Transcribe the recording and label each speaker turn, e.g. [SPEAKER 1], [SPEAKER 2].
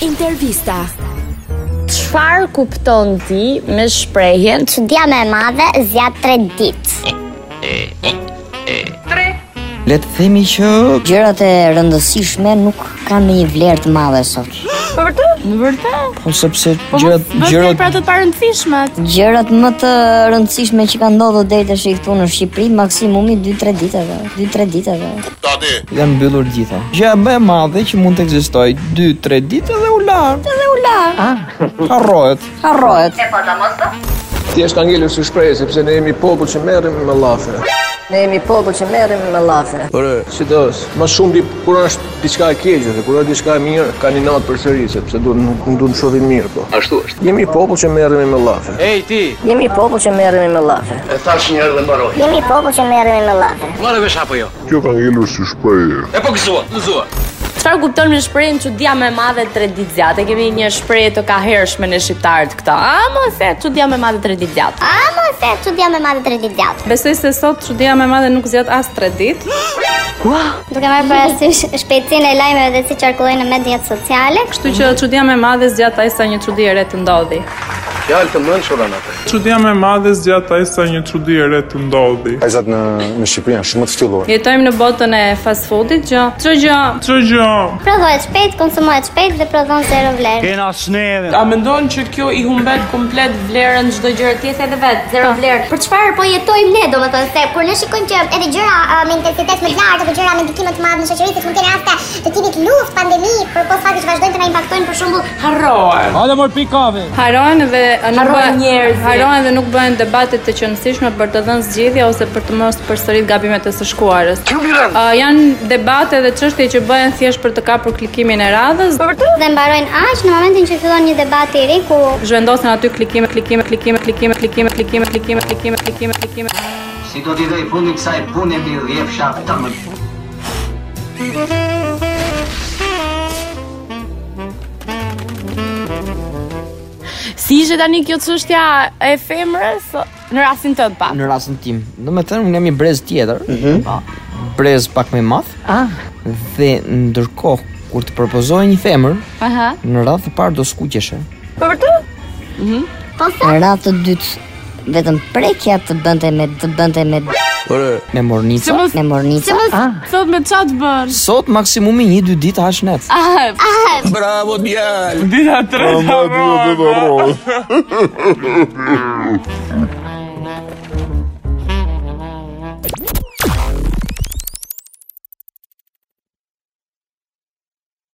[SPEAKER 1] Intervista.
[SPEAKER 2] Çfarë kupton ti me shprehjen
[SPEAKER 3] Çudia më e madhe zjat 3 ditë.
[SPEAKER 4] Le të themi që
[SPEAKER 3] Gjërat e rëndësishme nuk kanë ndonjë vlerë të madhe sot.
[SPEAKER 5] Në vërtet?
[SPEAKER 4] po sepse
[SPEAKER 5] Gjërat,
[SPEAKER 4] gjërat
[SPEAKER 5] gjërat
[SPEAKER 4] gjërat
[SPEAKER 5] pra të parëndësishme.
[SPEAKER 3] Gjërat më të rëndësishme që kanë ndodhur deri tash këtu në Shqipëri maksimumi 2-3 ditëve, 2-3 ditëve.
[SPEAKER 4] janë mbyllur gjitha. Gjëja më e madhe që mund të ekzistojë 2-3 ditë dhe u lar.
[SPEAKER 3] Edhe u la,
[SPEAKER 4] Harrohet.
[SPEAKER 3] harrohet.
[SPEAKER 6] Thjesht ka ngelur si shprehje sepse ne jemi popull që merrem me llafe.
[SPEAKER 3] Ne jemi popull që merrem me llafe.
[SPEAKER 6] Por e, sidos, më shumë di kur është diçka e keqe dhe kur është diçka e mirë, kanë inat përsëri sepse duhet nuk duhet të shohim mirë po. Ashtu është. Jemi popull që merremi me llafe.
[SPEAKER 3] Jemi popull që merremi me llafe. E thash një herë dhe mbaroj. Jemi popull që merremi me llafe.
[SPEAKER 2] Çfarë kupton me shprehjen çudia më e madhe 3 ditë zjat? E kemi një shprehje të kahershme në shqiptarët këta. A mos e çudia më e madhe 3 ditë zjat.
[SPEAKER 3] A mos e çudia më madhe 3 ditë gjatë.
[SPEAKER 5] Besoj se sot çudia më e madhe nuk zgjat as 3 ditë.
[SPEAKER 7] Duke marrë parasysh pra, shpejtësinë e lajmeve dhe si qarkullojnë në mediat sociale,
[SPEAKER 5] Kështu që çudia më e madhe zgjat ai sa një çudi e re të ndodhi.
[SPEAKER 6] Fjalë të mëndshura atë.
[SPEAKER 8] Çudia më e madhe zgjat ai sa një çudi e re të ndodhi.
[SPEAKER 9] Vajzat në në Shqipëri janë shumë të ftyllur.
[SPEAKER 5] Jetojmë në botën e fast foodit që çdo gjë
[SPEAKER 8] Ço gjë?
[SPEAKER 7] prodhohet shpejt, konsumohet shpejt dhe prodhon zero vlerë.
[SPEAKER 10] A mendon që kjo i humbet komplet vlerën çdo gjëre tjetër edhe vet, zero vlerë.
[SPEAKER 7] Për çfarë po jetojmë ne, domethënë se kur ne shikojmë që edhe gjëra uh, me intensitet më të lartë apo gjëra me ndikim më të madh në shoqëri, siç mund të jenë raste të tipit luftë, pandemi, përpos faktit që vazhdojnë të na impaktojnë për shembull
[SPEAKER 10] Harrohen.
[SPEAKER 5] harojnë dhe nuk
[SPEAKER 10] Harrojnë
[SPEAKER 5] bëhen
[SPEAKER 10] njerëzit.
[SPEAKER 5] harojnë dhe nuk bëhen debate të qëndësishme për të dhënë zgjidhje ose për të mos përsërit gabimet e së shkuarës. Uh, janë debate dhe çështje që bëhen thjesht për të kapur klikimin e radhës.
[SPEAKER 2] Po,
[SPEAKER 7] dhe mbarojnë aq në momentin që fillon një debat i ri ku
[SPEAKER 5] Zhvendosen aty klikime, klikime, klikime, klikime, klikime, klikime, klikime, klikime, klikime, klikime.
[SPEAKER 4] Si do t'i doj fundi kësaj pune mi dhjefsha tëmë.
[SPEAKER 2] Si ishte tani kjo çështja e femrës në rastin tënd pa?
[SPEAKER 4] Në rastin tim, domethënë unë jam i brez tjetër. Po. Brez pak më i madh. Ah. Dhe ndërkohë kur të propozoj një femër,
[SPEAKER 2] Aha.
[SPEAKER 4] në radhë të parë do skuqeshe.
[SPEAKER 3] Në radhë të dytë vetëm prekja të bënte me të bënte me
[SPEAKER 6] Por e,
[SPEAKER 4] Me mornica.
[SPEAKER 3] me mornica.
[SPEAKER 2] Mos thot me çat bën.
[SPEAKER 4] Sot maksimumi 1-2 ditë hash net.
[SPEAKER 2] Ah,
[SPEAKER 6] bravo djalë.
[SPEAKER 8] Dita 3 të rrojnë.